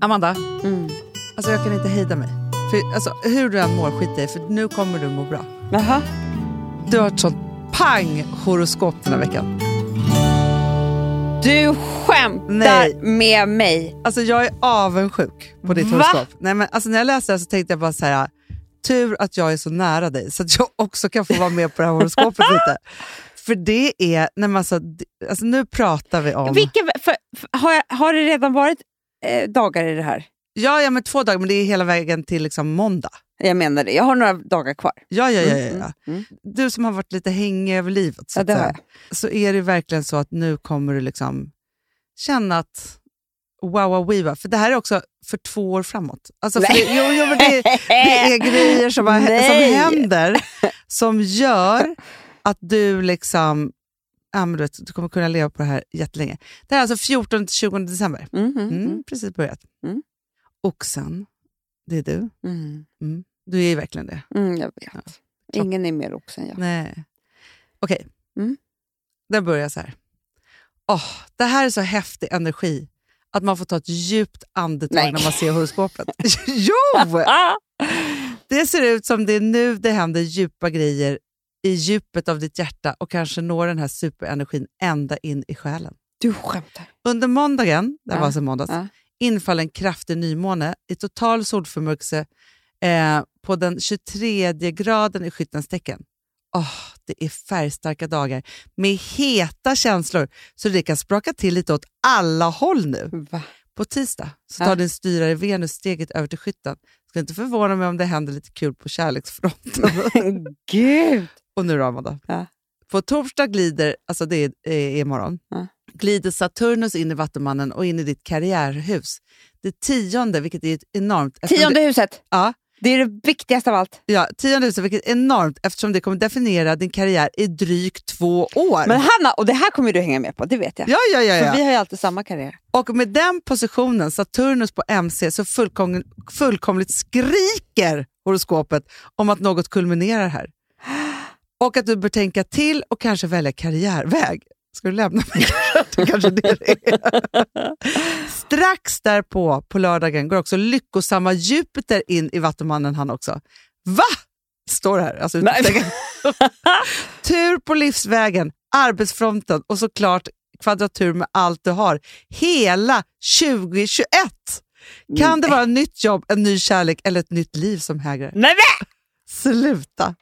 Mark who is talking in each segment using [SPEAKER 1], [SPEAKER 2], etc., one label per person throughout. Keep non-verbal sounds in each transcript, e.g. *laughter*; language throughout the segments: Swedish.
[SPEAKER 1] Amanda, alltså jag kan inte hejda mig. För, alltså, hur du än mår, skit i för nu kommer du må bra.
[SPEAKER 2] Jaha.
[SPEAKER 1] Du har ett sånt pang-horoskop den här veckan.
[SPEAKER 2] Du skämtar
[SPEAKER 1] Nej.
[SPEAKER 2] med mig.
[SPEAKER 1] Alltså jag är avundsjuk på ditt
[SPEAKER 2] Va?
[SPEAKER 1] horoskop. Nej, men, alltså, när jag läste det här så tänkte jag bara så här, tur att jag är så nära dig så att jag också kan få vara med på det här horoskopet lite. För det är, nej, men alltså, det- alltså nu pratar vi om...
[SPEAKER 2] Vilka, för, för, har, jag- har det redan varit eh, dagar i det här?
[SPEAKER 1] Ja, ja, men två dagar, men det är hela vägen till liksom måndag.
[SPEAKER 2] Jag menar det. Jag har några dagar kvar.
[SPEAKER 1] Ja, ja, ja, ja,
[SPEAKER 2] Mm,
[SPEAKER 1] ja.
[SPEAKER 2] mm.
[SPEAKER 1] Du som har varit lite hängig över livet, så,
[SPEAKER 2] Ja,
[SPEAKER 1] att
[SPEAKER 2] det har
[SPEAKER 1] säga, så är det verkligen så att nu kommer du liksom känna att wow, wow, wow. För det här är också för två år framåt. Alltså, för det, jo, jo, men det, det är
[SPEAKER 2] *laughs*
[SPEAKER 1] grejer som, har, som
[SPEAKER 2] Nej.
[SPEAKER 1] händer som gör att du liksom ja, men du, vet, du kommer kunna leva på det här jättelänge. Det här är alltså 14-20 december.
[SPEAKER 2] Mm, mm,
[SPEAKER 1] Mm,
[SPEAKER 2] mm,
[SPEAKER 1] Precis börjat.
[SPEAKER 2] Mm.
[SPEAKER 1] Oxen, det är du.
[SPEAKER 2] mm,
[SPEAKER 1] Du är ju verkligen det.
[SPEAKER 2] mm, jag vet.
[SPEAKER 1] Ja.
[SPEAKER 2] Ingen är mer oxen jag.
[SPEAKER 1] Nej. Okej.
[SPEAKER 2] Mm.
[SPEAKER 1] Den börjar så här. Åh, det här är så häftig energi. Att man får ta ett djupt andetag
[SPEAKER 2] Nej.
[SPEAKER 1] när man ser horoskopet.
[SPEAKER 2] *laughs*
[SPEAKER 1] jo!
[SPEAKER 2] Ah!
[SPEAKER 1] Det ser ut som det är nu det händer djupa grejer i djupet av ditt hjärta och kanske når den här superenergin ända in i själen.
[SPEAKER 2] Du skämtar.
[SPEAKER 1] Under måndagen, det här
[SPEAKER 2] Ja,
[SPEAKER 1] var alltså måndags,
[SPEAKER 2] ja.
[SPEAKER 1] inföll en kraftig nymåne i total solförmörkelse eh, på den 23 graden i skyttens tecken. Åh, det är färgstarka dagar med heta känslor så det kan spraka till lite åt alla håll nu.
[SPEAKER 2] Va?
[SPEAKER 1] På tisdag så
[SPEAKER 2] Ja.
[SPEAKER 1] tar din styrare Venus steget över till skytten. Ska inte förvåna mig om det händer lite kul på kärleksfronten.
[SPEAKER 2] *laughs* Gud!
[SPEAKER 1] Och nu då, Amanda.
[SPEAKER 2] Ja.
[SPEAKER 1] På torsdag glider, alltså det är, är imorgon,
[SPEAKER 2] Ja.
[SPEAKER 1] glider Saturnus in i Vattumannen och in i ditt karriärhus. Det tionde, vilket är ett enormt... eftersom
[SPEAKER 2] Tionde huset.
[SPEAKER 1] Ja.
[SPEAKER 2] Det är det viktigaste av allt.
[SPEAKER 1] Det, ja, tionde huset, vilket är enormt eftersom det kommer definiera din karriär i drygt två år.
[SPEAKER 2] Men Hanna, och det här kommer du hänga med på, det vet jag.
[SPEAKER 1] ja, ja, ja,
[SPEAKER 2] För
[SPEAKER 1] ja.
[SPEAKER 2] vi har ju alltid samma karriär.
[SPEAKER 1] Och med den positionen, Saturnus på MC, så fullkom, fullkomligt skriker horoskopet om att något kulminerar här. Och att du bör tänka till och kanske välja karriärväg. Ska du lämna mig? *laughs* det kanske är det det är. Strax därpå, på lördagen, går också lyckosamma Jupiter in i Vattumannen han också. Va? Står det här. Alltså,
[SPEAKER 2] *laughs*
[SPEAKER 1] utropstecken. Tur på livsvägen, arbetsfronten och såklart kvadratur med allt du har. Hela 2021! Kan det vara ett nytt jobb, en ny kärlek eller ett nytt liv som hägrar?
[SPEAKER 2] Nej, men!
[SPEAKER 1] Sluta!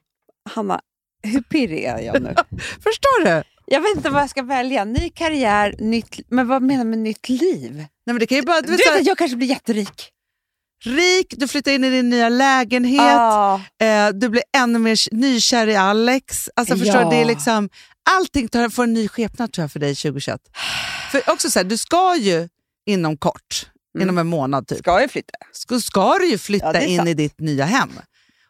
[SPEAKER 2] Hanna, hur pirrig är jag nu?
[SPEAKER 1] Förstår du?
[SPEAKER 2] Jag vet inte vad jag ska välja. Ny karriär, nytt... Men vad menar du med nytt liv?
[SPEAKER 1] Nej, men det kan ju bara, du
[SPEAKER 2] Du
[SPEAKER 1] vet,
[SPEAKER 2] vet
[SPEAKER 1] så här,
[SPEAKER 2] att jag kanske blir jätterik.
[SPEAKER 1] rik, du flyttar in i din nya lägenhet,
[SPEAKER 2] Ah,
[SPEAKER 1] eh, du blir ännu mer k- nykär i Alex. Alltså, förstår du? Det är
[SPEAKER 2] Ja.
[SPEAKER 1] liksom, allting tar, får en ny skepnad tror jag för dig 2021. För också så här, du ska ju inom kort,
[SPEAKER 2] Mm.
[SPEAKER 1] inom en månad typ,
[SPEAKER 2] ska jag flytta?
[SPEAKER 1] ska, ska du ju flytta
[SPEAKER 2] Ja, det är
[SPEAKER 1] in
[SPEAKER 2] sant.
[SPEAKER 1] i ditt nya hem.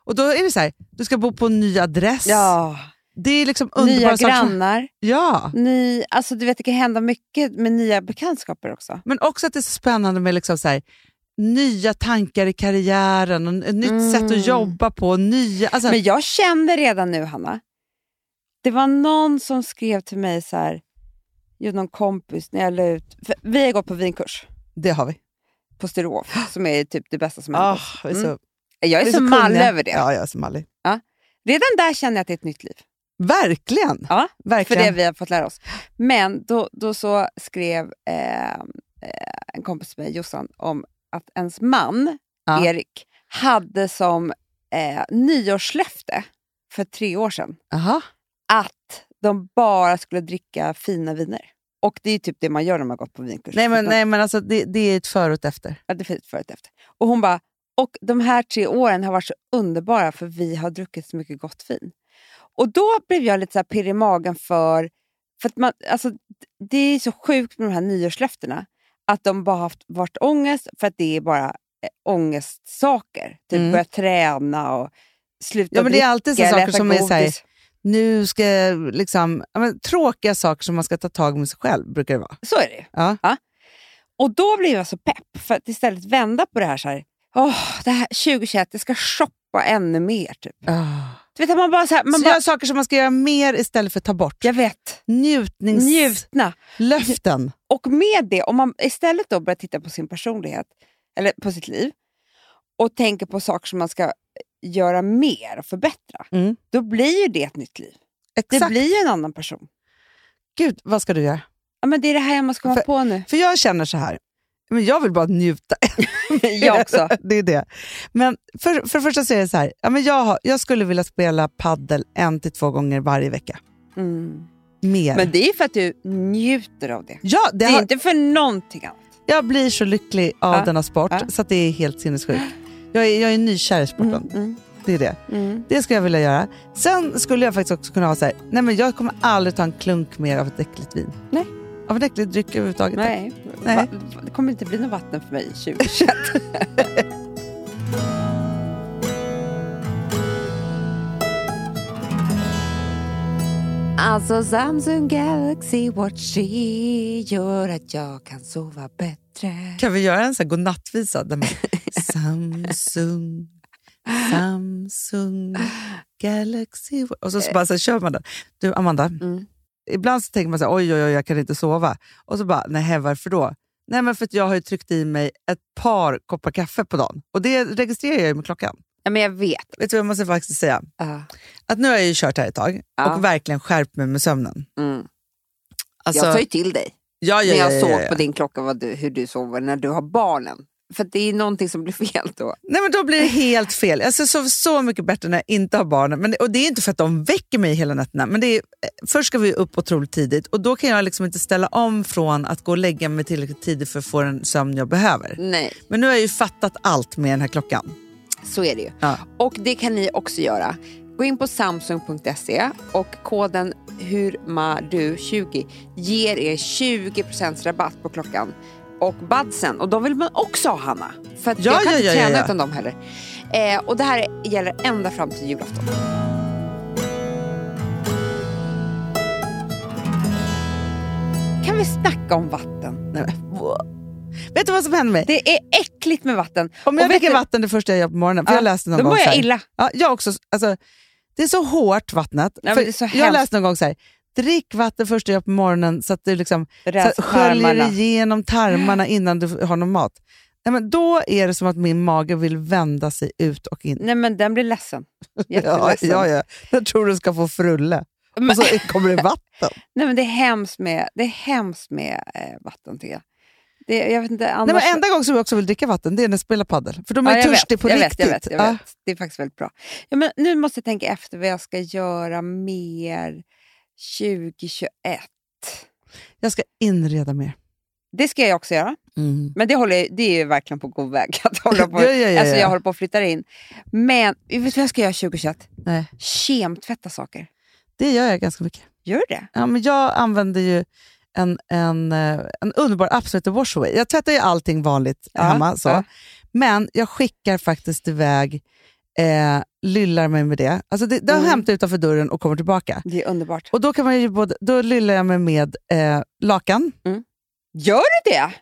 [SPEAKER 1] Och då är det så här, du ska bo på en ny adress.
[SPEAKER 2] Ja.
[SPEAKER 1] Det är liksom
[SPEAKER 2] Nya
[SPEAKER 1] underbara saker som-
[SPEAKER 2] grannar.
[SPEAKER 1] Ja,
[SPEAKER 2] Ny... Alltså, du vet, det kan hända mycket med nya bekantskaper också.
[SPEAKER 1] men också att det är så spännande med liksom så här, nya tankar i karriären, och n- ett nytt
[SPEAKER 2] Mm.
[SPEAKER 1] sätt att jobba på. Nya, alltså,
[SPEAKER 2] Men jag känner redan nu, Hanna. Det var någon som skrev till mig så här, jo, någon kompis när jag la ut... För vi har gått på vinkurs
[SPEAKER 1] det har vi.
[SPEAKER 2] på Sturehof, som är typ det bästa som hänt.
[SPEAKER 1] Ah, vi är så,
[SPEAKER 2] Jag är,
[SPEAKER 1] vi är
[SPEAKER 2] så
[SPEAKER 1] kunniga.
[SPEAKER 2] mall över det.
[SPEAKER 1] Ja, jag är så mallig.
[SPEAKER 2] Redan där känner jag att det är ett nytt liv.
[SPEAKER 1] Verkligen!
[SPEAKER 2] Ja, för
[SPEAKER 1] Verkligen.
[SPEAKER 2] det vi har fått lära oss. Men då, då så skrev eh, eh, en kompis till mig, Jossan, om att ens man,
[SPEAKER 1] Ja.
[SPEAKER 2] Erik, hade som eh, nyårslöfte för tre år sedan
[SPEAKER 1] Aha.
[SPEAKER 2] att de bara skulle dricka fina viner. Och det är ju typ det man gör när man har gått på typ. vinkurs.
[SPEAKER 1] Nej, men,
[SPEAKER 2] Man-
[SPEAKER 1] nej, men alltså, det, det är ett förut efter.
[SPEAKER 2] Ja, det finns förut efter. Och hon bara, och de här tre åren har varit så underbara för vi har druckit så mycket gott vin. Och då blev jag lite så här pirr i magen för, för att man, alltså, det är så sjukt med de här nyårslöftena. Att de bara haft varit ångest för att det är bara eh, ångestsaker. Typ
[SPEAKER 1] Mm.
[SPEAKER 2] börja träna och sluta
[SPEAKER 1] Ja, men det är alltid så
[SPEAKER 2] dricka eller
[SPEAKER 1] saker
[SPEAKER 2] äta
[SPEAKER 1] som är så här,
[SPEAKER 2] godis.
[SPEAKER 1] nu ska jag liksom, ja, men, tråkiga saker som man ska ta tag med sig själv, brukar det vara.
[SPEAKER 2] Så är det ju.
[SPEAKER 1] Ja.
[SPEAKER 2] Och då blev jag så pepp för att istället vända på det här så här. Åh, det här 2021, jag ska shoppa ännu mer typ. Du vet att man bara så här, man
[SPEAKER 1] Man så
[SPEAKER 2] bara,
[SPEAKER 1] gör saker som man ska göra mer istället för att ta bort.
[SPEAKER 2] jag vet,
[SPEAKER 1] Njutningslöften.
[SPEAKER 2] njutna. Och med det, om man istället då börjar titta på sin personlighet, eller på sitt liv och tänker på saker som man ska göra mer och förbättra,
[SPEAKER 1] Mm.
[SPEAKER 2] då blir ju det ett nytt liv.
[SPEAKER 1] Exakt.
[SPEAKER 2] Det blir ju en annan person.
[SPEAKER 1] Gud, vad ska du göra?
[SPEAKER 2] Ja, men det är det här jag måste komma
[SPEAKER 1] För- *laughs*
[SPEAKER 2] på nu.
[SPEAKER 1] För jag känner så här, men jag vill bara njuta.
[SPEAKER 2] jag också.
[SPEAKER 1] *laughs* det är det. Men för, för det första så är det så här, ja, men jag, har, jag skulle vilja spela paddel en till två gånger varje vecka.
[SPEAKER 2] Mm.
[SPEAKER 1] Mer.
[SPEAKER 2] Men det är ju för att du njuter av det.
[SPEAKER 1] ja, det
[SPEAKER 2] Det är
[SPEAKER 1] har,
[SPEAKER 2] inte för någonting annat.
[SPEAKER 1] jag blir så lycklig av
[SPEAKER 2] Ja.
[SPEAKER 1] denna sport
[SPEAKER 2] Ja.
[SPEAKER 1] så att det är helt sinnessjukt. Jag är, jag är nykär i sporten.
[SPEAKER 2] Mm, mm,
[SPEAKER 1] Det är det.
[SPEAKER 2] mm.
[SPEAKER 1] Det skulle jag vilja göra. Sen skulle jag faktiskt också kunna ha så här, nej men jag kommer aldrig ta en klunk mer av ett äckligt vin.
[SPEAKER 2] Nej.
[SPEAKER 1] Av en äcklig dryck överhuvudtaget.
[SPEAKER 2] Nej.
[SPEAKER 1] Nej.
[SPEAKER 2] Va, va- det kommer inte bli något vatten för mig 2021. *laughs* Alltså Samsung Galaxy Watch 3 gör att jag kan sova bättre.
[SPEAKER 1] Kan vi göra en sån här godnattvisa? Där
[SPEAKER 2] *laughs*
[SPEAKER 1] man, Samsung, Samsung, Galaxy... Watch." Och så, så, bara, så här kör man den. Du, Amanda.
[SPEAKER 2] Eh. Mm.
[SPEAKER 1] Ibland så tänker man så här, oj, oj, oj, jag kan inte sova. Och så bara, nej, varför då? Nej, men för att jag har ju tryckt i mig ett par koppar kaffe på dagen. Och det registrerar jag ju med klockan.
[SPEAKER 2] Ja, men jag vet.
[SPEAKER 1] Vet du vad jag måste faktiskt säga?
[SPEAKER 2] Ja.
[SPEAKER 1] Att nu har jag ju kört här ett tag
[SPEAKER 2] Ja.
[SPEAKER 1] och verkligen skärpt mig med sömnen.
[SPEAKER 2] Mm.
[SPEAKER 1] Alltså,
[SPEAKER 2] jag sa ju till dig
[SPEAKER 1] ja, ja,
[SPEAKER 2] när
[SPEAKER 1] ja,
[SPEAKER 2] jag
[SPEAKER 1] ja,
[SPEAKER 2] såg
[SPEAKER 1] ja,
[SPEAKER 2] på din klocka vad du, hur du sover när du har barnen. För att det är någonting som blir fel då.
[SPEAKER 1] Nej, men då blir det helt fel. Alltså, jag sover så mycket bättre när jag inte har barnen. Men det, och det är inte för att de väcker mig hela nätterna. Men det är, eh, först ska vi upp otroligt tidigt och då kan jag liksom inte ställa om från att gå och lägga mig tillräckligt tidigt för att få den sömn jag behöver.
[SPEAKER 2] Nej,
[SPEAKER 1] Men nu har jag ju fattat allt med den här klockan.
[SPEAKER 2] så är det ju.
[SPEAKER 1] Ja.
[SPEAKER 2] Och det kan ni också göra. Gå in på samsung.se och koden HURMADU20 ger er 20% rabatt på klockan och badsen. Och de vill man också ha Hanna. För att
[SPEAKER 1] Ja,
[SPEAKER 2] jag kan
[SPEAKER 1] ja,
[SPEAKER 2] inte
[SPEAKER 1] ja, ja,
[SPEAKER 2] träna
[SPEAKER 1] ja.
[SPEAKER 2] utan dem heller. Eh, och det här gäller ända fram till julafton. Kan vi snacka om vatten?
[SPEAKER 1] Nej, men, wow. Vet du vad som händer mig?
[SPEAKER 2] Det är äckligt med vatten.
[SPEAKER 1] Om jag
[SPEAKER 2] och vet
[SPEAKER 1] dricker
[SPEAKER 2] du-
[SPEAKER 1] vatten det första jag gör på morgonen, för
[SPEAKER 2] Ja,
[SPEAKER 1] jag läste någon
[SPEAKER 2] Då
[SPEAKER 1] gång
[SPEAKER 2] mår
[SPEAKER 1] så
[SPEAKER 2] jag
[SPEAKER 1] här-
[SPEAKER 2] illa.
[SPEAKER 1] Ja, jag också. Alltså, det är så hårt vattnet.
[SPEAKER 2] men
[SPEAKER 1] För
[SPEAKER 2] det är så
[SPEAKER 1] jag
[SPEAKER 2] hemskt.
[SPEAKER 1] läste någon gång så här, drick vatten första jag på morgonen så att du liksom så
[SPEAKER 2] Rens
[SPEAKER 1] att sköljer
[SPEAKER 2] tarmarna.
[SPEAKER 1] igenom tarmarna innan du har någon mat. Nej, men då är det som att min mage vill vända sig ut och in.
[SPEAKER 2] Nej men den blir ledsen.
[SPEAKER 1] *laughs* Ja,
[SPEAKER 2] Jätteledsen.
[SPEAKER 1] ja, ja. Jag tror du ska få frulle.
[SPEAKER 2] Men-
[SPEAKER 1] Och så *laughs* kommer det vatten.
[SPEAKER 2] Nej men det är hemskt med, det är hemskt med eh, vatten tycker jag. Det, jag vet inte, annars...
[SPEAKER 1] Nej, men enda gången som jag också vill dricka vatten det är när jag spelar paddel. För de
[SPEAKER 2] Ja,
[SPEAKER 1] är
[SPEAKER 2] jag
[SPEAKER 1] törstiga
[SPEAKER 2] vet,
[SPEAKER 1] på
[SPEAKER 2] jag
[SPEAKER 1] riktigt.
[SPEAKER 2] Vet, jag vet, jag
[SPEAKER 1] Ja.
[SPEAKER 2] vet. Det är faktiskt väldigt bra. Ja, men nu måste jag tänka efter vad jag ska göra mer 2021.
[SPEAKER 1] Jag ska inreda mer. Mm.
[SPEAKER 2] Det ska jag också göra. Men det, håller, jag- det är ju verkligen på god väg. Att hålla
[SPEAKER 1] *laughs*
[SPEAKER 2] på,
[SPEAKER 1] Ja, ja, ja,
[SPEAKER 2] alltså,
[SPEAKER 1] ja.
[SPEAKER 2] jag håller på att flytta in. Men vet du vad jag ska göra 2021?
[SPEAKER 1] Nej.
[SPEAKER 2] Kemtvätta saker.
[SPEAKER 1] Det gör jag ganska mycket.
[SPEAKER 2] Gör du det?
[SPEAKER 1] Ja, men jag använder ju en, en, eh, en underbar app som heter Washaway. Jag tvättar ju allting vanligt
[SPEAKER 2] Ja,
[SPEAKER 1] hemma, så.
[SPEAKER 2] ja.
[SPEAKER 1] men jag skickar faktiskt iväg, eh, lyllar mig med det. Alltså det, det
[SPEAKER 2] Mm.
[SPEAKER 1] hämtar jag utanför dörren och kommer tillbaka.
[SPEAKER 2] Det är underbart.
[SPEAKER 1] Och Då, kan man ju både, då lyllar jag mig med eh, lakan.
[SPEAKER 2] Gör du det?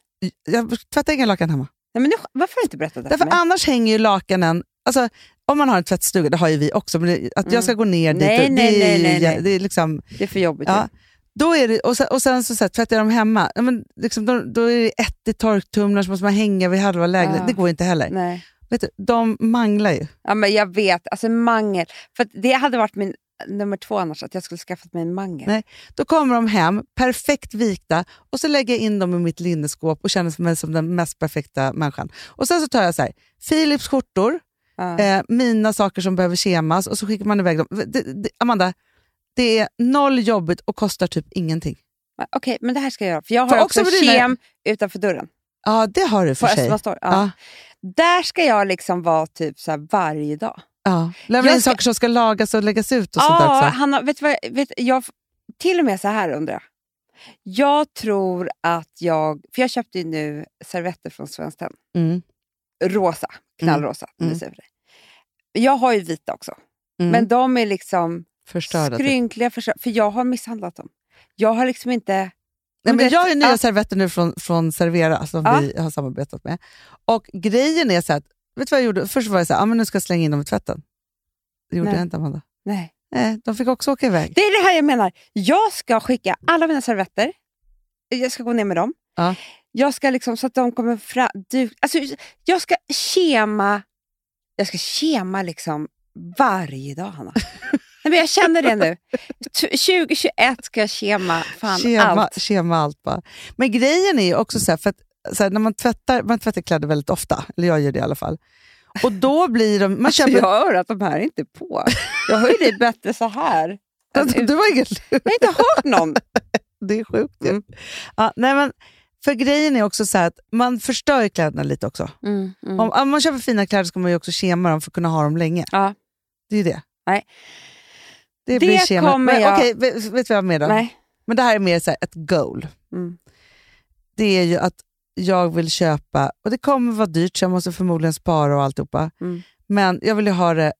[SPEAKER 1] Jag tvättar inga lakan hemma.
[SPEAKER 2] Nej, men nu, varför har du inte berättat det här
[SPEAKER 1] Därför
[SPEAKER 2] för mig?
[SPEAKER 1] annars hänger ju lakanen... Alltså, om man har en tvättstuga, det har ju vi också, men det, att
[SPEAKER 2] Mm.
[SPEAKER 1] jag ska gå ner dit,
[SPEAKER 2] Nej,
[SPEAKER 1] och,
[SPEAKER 2] nej,
[SPEAKER 1] det, är
[SPEAKER 2] nej,
[SPEAKER 1] ju
[SPEAKER 2] nej,
[SPEAKER 1] jä-
[SPEAKER 2] nej.
[SPEAKER 1] det är liksom...
[SPEAKER 2] Det är för jobbigt.
[SPEAKER 1] Ja. Då är det, och sen, och sen så, så här, tvättar jag dem hemma. Ja, men liksom, då, då är det ett i torktumlaren så måste man hänga vid halva lägenheten.
[SPEAKER 2] Ja.
[SPEAKER 1] Det går ju inte heller.
[SPEAKER 2] Nej.
[SPEAKER 1] Vet du, de manglar ju.
[SPEAKER 2] Ja, men jag vet, alltså mangel. För att det hade varit min eh, nummer två annars, att jag skulle skaffat mig en mangel.
[SPEAKER 1] Nej. Då kommer de hem, perfekt vikta, och så lägger jag in dem i mitt linneskåp och känner mig som den mest perfekta människan. Och sen så tar jag så här, Philips skjortor,
[SPEAKER 2] Ja.
[SPEAKER 1] eh, mina saker som behöver kemas och så skickar man iväg dem. Det, det, Amanda, det är noll jobbigt och kostar typ ingenting.
[SPEAKER 2] Men Okej, men det här ska jag göra. För jag
[SPEAKER 1] För
[SPEAKER 2] har också,
[SPEAKER 1] också med dina-
[SPEAKER 2] kem utanför dörren.
[SPEAKER 1] Ja, det har du
[SPEAKER 2] På
[SPEAKER 1] för sig.
[SPEAKER 2] Östman Store. Ja.
[SPEAKER 1] Ja.
[SPEAKER 2] Där ska jag liksom vara typ så här varje dag.
[SPEAKER 1] Ja. Lämna
[SPEAKER 2] Jag
[SPEAKER 1] in
[SPEAKER 2] ska-
[SPEAKER 1] saker som ska lagas och läggas ut och sånt där
[SPEAKER 2] Ja,
[SPEAKER 1] också.
[SPEAKER 2] Hanna, vet du vad, jag- vet, jag, till och med så här undrar jag. Jag tror att jag, för jag köpte ju nu servetter från Svenskt Tenn.
[SPEAKER 1] Mm.
[SPEAKER 2] Rosa, knallrosa.
[SPEAKER 1] Mm.
[SPEAKER 2] Mm. Jag har ju vita också,
[SPEAKER 1] Mm.
[SPEAKER 2] men de är liksom...
[SPEAKER 1] Förstörda. typ.
[SPEAKER 2] Skrynkliga försök. För jag har misshandlat dem. Jag har liksom inte...
[SPEAKER 1] Nej, men
[SPEAKER 2] det-
[SPEAKER 1] jag har ju nya
[SPEAKER 2] ja.
[SPEAKER 1] servetter nu från, från Servera som
[SPEAKER 2] Ja.
[SPEAKER 1] vi har samarbetat med. Och grejen är så här att, vet du vad jag gjorde? Först var jag så här, ah, men nu ska jag slänga in dem i tvätten. Det gjorde
[SPEAKER 2] Nej.
[SPEAKER 1] jag inte Amanda.
[SPEAKER 2] Nej.
[SPEAKER 1] Nej, de fick också åka iväg.
[SPEAKER 2] Det är det här jag menar. Jag ska skicka alla mina servetter. Jag ska gå ner med dem.
[SPEAKER 1] Ja.
[SPEAKER 2] Jag ska liksom så att de kommer fram. Du, alltså, jag ska kema, jag ska kema liksom varje dag
[SPEAKER 1] *laughs*
[SPEAKER 2] Hanna. Nej, men jag känner det nu. T- 2021 ska jag kema fan
[SPEAKER 1] Kema
[SPEAKER 2] allt.
[SPEAKER 1] allt. Kema allt bara. Men grejen är ju också så här, för att så här, när man tvättar, man tvättar kläder väldigt ofta, eller jag gör det i alla fall. Och då blir de... Man
[SPEAKER 2] Alltså,
[SPEAKER 1] köper,
[SPEAKER 2] jag hör att de här är inte på. Jag hör ju dig bättre
[SPEAKER 1] *laughs*
[SPEAKER 2] så här. än ut-
[SPEAKER 1] alltså, Du har ingen
[SPEAKER 2] Jag har inte hört någon.
[SPEAKER 1] Det är sjukt ju.
[SPEAKER 2] Mm.
[SPEAKER 1] Ja, nej, men För grejen är också så här att man förstör ju kläderna lite också. Om, om man köper fina kläder ska man ju också kema dem för att kunna ha dem länge.
[SPEAKER 2] Mm. Ja.
[SPEAKER 1] Det är ju det.
[SPEAKER 2] Nej.
[SPEAKER 1] Det,
[SPEAKER 2] Det
[SPEAKER 1] blir kema.
[SPEAKER 2] kommer
[SPEAKER 1] men,
[SPEAKER 2] jag-
[SPEAKER 1] Okej, vet, vet du vad jag har med då?
[SPEAKER 2] Nej.
[SPEAKER 1] Men det här är mer så här ett goal.
[SPEAKER 2] Mm.
[SPEAKER 1] Det är ju att jag vill köpa, och det kommer vara dyrt så jag måste förmodligen spara och alltihopa.
[SPEAKER 2] Mm.
[SPEAKER 1] Men jag vill ju ha det,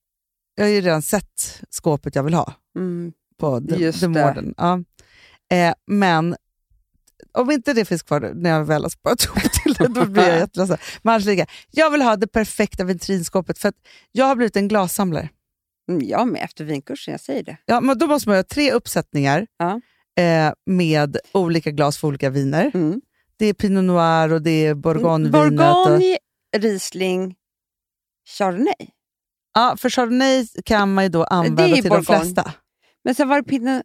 [SPEAKER 1] jag har ju redan sett skåpet jag vill ha
[SPEAKER 2] Mm.
[SPEAKER 1] på The,
[SPEAKER 2] Just
[SPEAKER 1] the
[SPEAKER 2] det.
[SPEAKER 1] Morden. Ja. Eh, men om inte det finns kvar när jag väl har sparat ihop *laughs* till det, då blir jag jätteledsen. Men annars lika, jag vill ha det perfekta vitrinskåpet för att jag har blivit en glassamlare.
[SPEAKER 2] Mm, Jag med, efter vinkursen, jag säger det.
[SPEAKER 1] Ja, men då måste man ha tre uppsättningar
[SPEAKER 2] Ja.
[SPEAKER 1] eh, med olika glas för olika viner.
[SPEAKER 2] Mm.
[SPEAKER 1] Det är Pinot Noir och det är Bourgognevinet. och-
[SPEAKER 2] Bourgogne, Riesling, Chardonnay.
[SPEAKER 1] Ja, för Chardonnay kan man ju då använda
[SPEAKER 2] ju
[SPEAKER 1] till de
[SPEAKER 2] Bourgogne.
[SPEAKER 1] flesta.
[SPEAKER 2] Men sen var det pinne...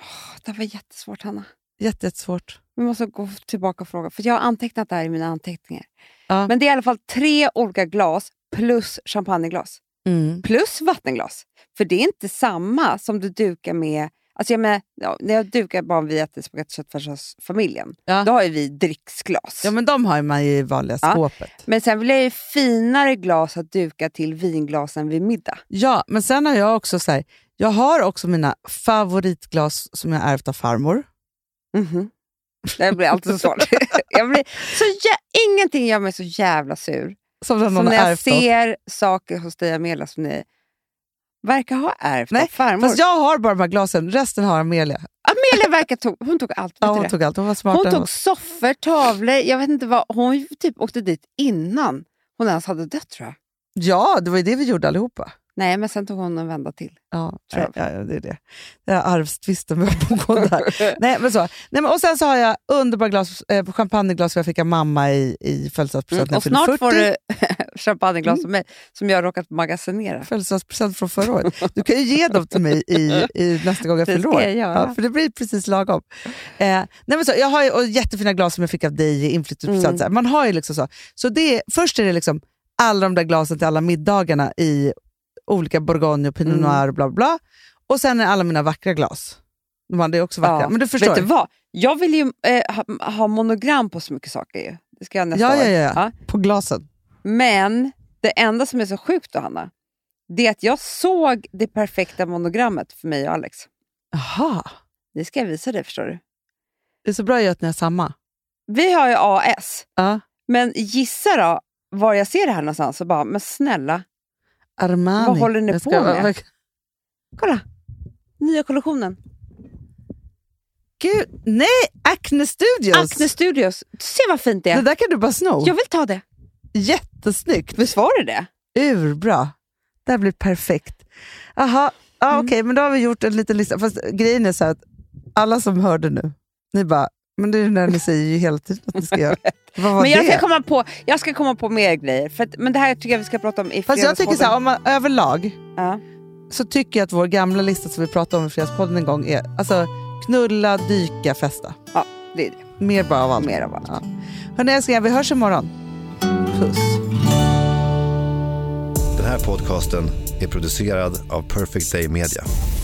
[SPEAKER 2] Åh, det här var jättesvårt, Hanna.
[SPEAKER 1] Jätte, jättesvårt.
[SPEAKER 2] Vi måste gå tillbaka och fråga, för jag har antecknat det här i mina anteckningar.
[SPEAKER 1] Ja.
[SPEAKER 2] Men det är i alla fall tre olika glas plus champagneglas.
[SPEAKER 1] Mm.
[SPEAKER 2] Plus vattenglas. För det är inte samma som du dukar med... Alltså jag menar, ja, när jag dukar bara vi äter spagetti och köttfärsfamiljen,
[SPEAKER 1] Ja.
[SPEAKER 2] då har ju vi dricksglas.
[SPEAKER 1] ja, men de har ju man ju i vanliga
[SPEAKER 2] Ja.
[SPEAKER 1] skåpet.
[SPEAKER 2] Men sen vill jag ju finare glas att duka till vinglasen vid middag.
[SPEAKER 1] Ja, men sen har jag också så här, jag har också mina favoritglas som jag ärvt av farmor.
[SPEAKER 2] Mhm. Det här blir alltid
[SPEAKER 1] *laughs*
[SPEAKER 2] så svårt. jag blir så jä- ingenting gör mig så jävla sur.
[SPEAKER 1] Som någon
[SPEAKER 2] Som
[SPEAKER 1] har
[SPEAKER 2] när jag
[SPEAKER 1] ärvt av.
[SPEAKER 2] ser saker hos dig Amelia som ni verkar ha ärvt av
[SPEAKER 1] Nej,
[SPEAKER 2] farmor.
[SPEAKER 1] Fast jag har bara de här glasen, resten har Amelia.
[SPEAKER 2] Amelia verkar tog, hon tog allt.
[SPEAKER 1] Ja,
[SPEAKER 2] vet du
[SPEAKER 1] hon
[SPEAKER 2] det?
[SPEAKER 1] tog allt, hon var smartare
[SPEAKER 2] hon
[SPEAKER 1] än
[SPEAKER 2] tog
[SPEAKER 1] oss.
[SPEAKER 2] soffor, tavlor, jag vet inte vad. Hon typ åkte dit innan hon ens hade dött tror jag.
[SPEAKER 1] Ja, det var ju det vi gjorde allihopa.
[SPEAKER 2] Nej, men sen tog hon en vända till.
[SPEAKER 1] Ja,
[SPEAKER 2] Tror
[SPEAKER 1] ja, ja, det är det. Det är arvstvisten börjar *laughs* pågå där. Nej, men *laughs* så. Nej, men, och sen så har jag underbara glas, eh, champagneglas som jag fick av mamma i, i
[SPEAKER 2] *laughs* Mm,
[SPEAKER 1] födelsedagspresent när jag
[SPEAKER 2] och
[SPEAKER 1] fyllde 40.
[SPEAKER 2] snart får du *laughs*
[SPEAKER 1] Mm.
[SPEAKER 2] champagneglas som, mig, som jag har råkat magasinera.
[SPEAKER 1] Födelsedagspresent från förra året. Du kan ju ge dem till mig i, i nästa gång jag
[SPEAKER 2] *laughs* Det
[SPEAKER 1] fyller
[SPEAKER 2] ska
[SPEAKER 1] år.
[SPEAKER 2] jag göra.
[SPEAKER 1] Ja, för det blir precis lagom. Eh, nej men så, jag har ju, och jättefina glas som jag fick av dig i inflyttningspresent.
[SPEAKER 2] Mm.
[SPEAKER 1] så här. Man har ju liksom så. så det, är- först är det liksom alla de där glasen till alla middagarna i olika Bourgogne och Pinot
[SPEAKER 2] Mm.
[SPEAKER 1] Noir och bla bla, bla. Och sen är alla mina vackra glas. De andra är också vackra.
[SPEAKER 2] Ja.
[SPEAKER 1] Men du förstår.
[SPEAKER 2] Vet du vad? Jag vill ju eh, ha, ha monogram på så mycket saker. Ju. Det ska jag nästa
[SPEAKER 1] Ja,
[SPEAKER 2] år.
[SPEAKER 1] ja, ja. På glasen.
[SPEAKER 2] Men det enda som är så sjukt då, Hanna, det är att jag såg det perfekta monogrammet för mig och Alex.
[SPEAKER 1] Jaha.
[SPEAKER 2] Det ska jag visa dig, förstår du.
[SPEAKER 1] Det är så bra ju att ni har samma.
[SPEAKER 2] Vi har ju AS,
[SPEAKER 1] Ja.
[SPEAKER 2] men gissa då var jag ser det här någonstans och bara, men snälla,
[SPEAKER 1] Armani.
[SPEAKER 2] Vad håller ni
[SPEAKER 1] Jag
[SPEAKER 2] på med? kolla! Nya kollektionen.
[SPEAKER 1] Gud, nej! Acne Studios!
[SPEAKER 2] Acne Studios. Se vad fint det
[SPEAKER 1] Det
[SPEAKER 2] är.
[SPEAKER 1] där kan du bara sno.
[SPEAKER 2] Jag vill ta det.
[SPEAKER 1] Jättesnyggt.
[SPEAKER 2] Visst var det det?
[SPEAKER 1] Urbra. Det här blir perfekt. Aha. Ja,
[SPEAKER 2] Mm.
[SPEAKER 1] Okej, men då har vi gjort en liten lista. Fast grejen är så här att alla som hörde nu, ni bara, men det är det där ni säger ju hela tiden att ni ska
[SPEAKER 2] *laughs*
[SPEAKER 1] göra. Vad var
[SPEAKER 2] Men jag
[SPEAKER 1] det?
[SPEAKER 2] ska, komma på, jag ska komma på mer grejer. För att, men det här tycker jag vi ska prata om i
[SPEAKER 1] Fast jag tycker så här,
[SPEAKER 2] fredagspodden.
[SPEAKER 1] om man, överlag
[SPEAKER 2] Ja.
[SPEAKER 1] så tycker jag att vår gamla lista som vi pratade om i Fredagspodden en gång är alltså knulla, dyka, festa.
[SPEAKER 2] Ja, det är det.
[SPEAKER 1] Mer bara av allt.
[SPEAKER 2] Mer av allt.
[SPEAKER 1] Ja. Hörni älsklingar, vi hörs imorgon. Puss.
[SPEAKER 3] Den här podcasten är producerad av Perfect Day Media.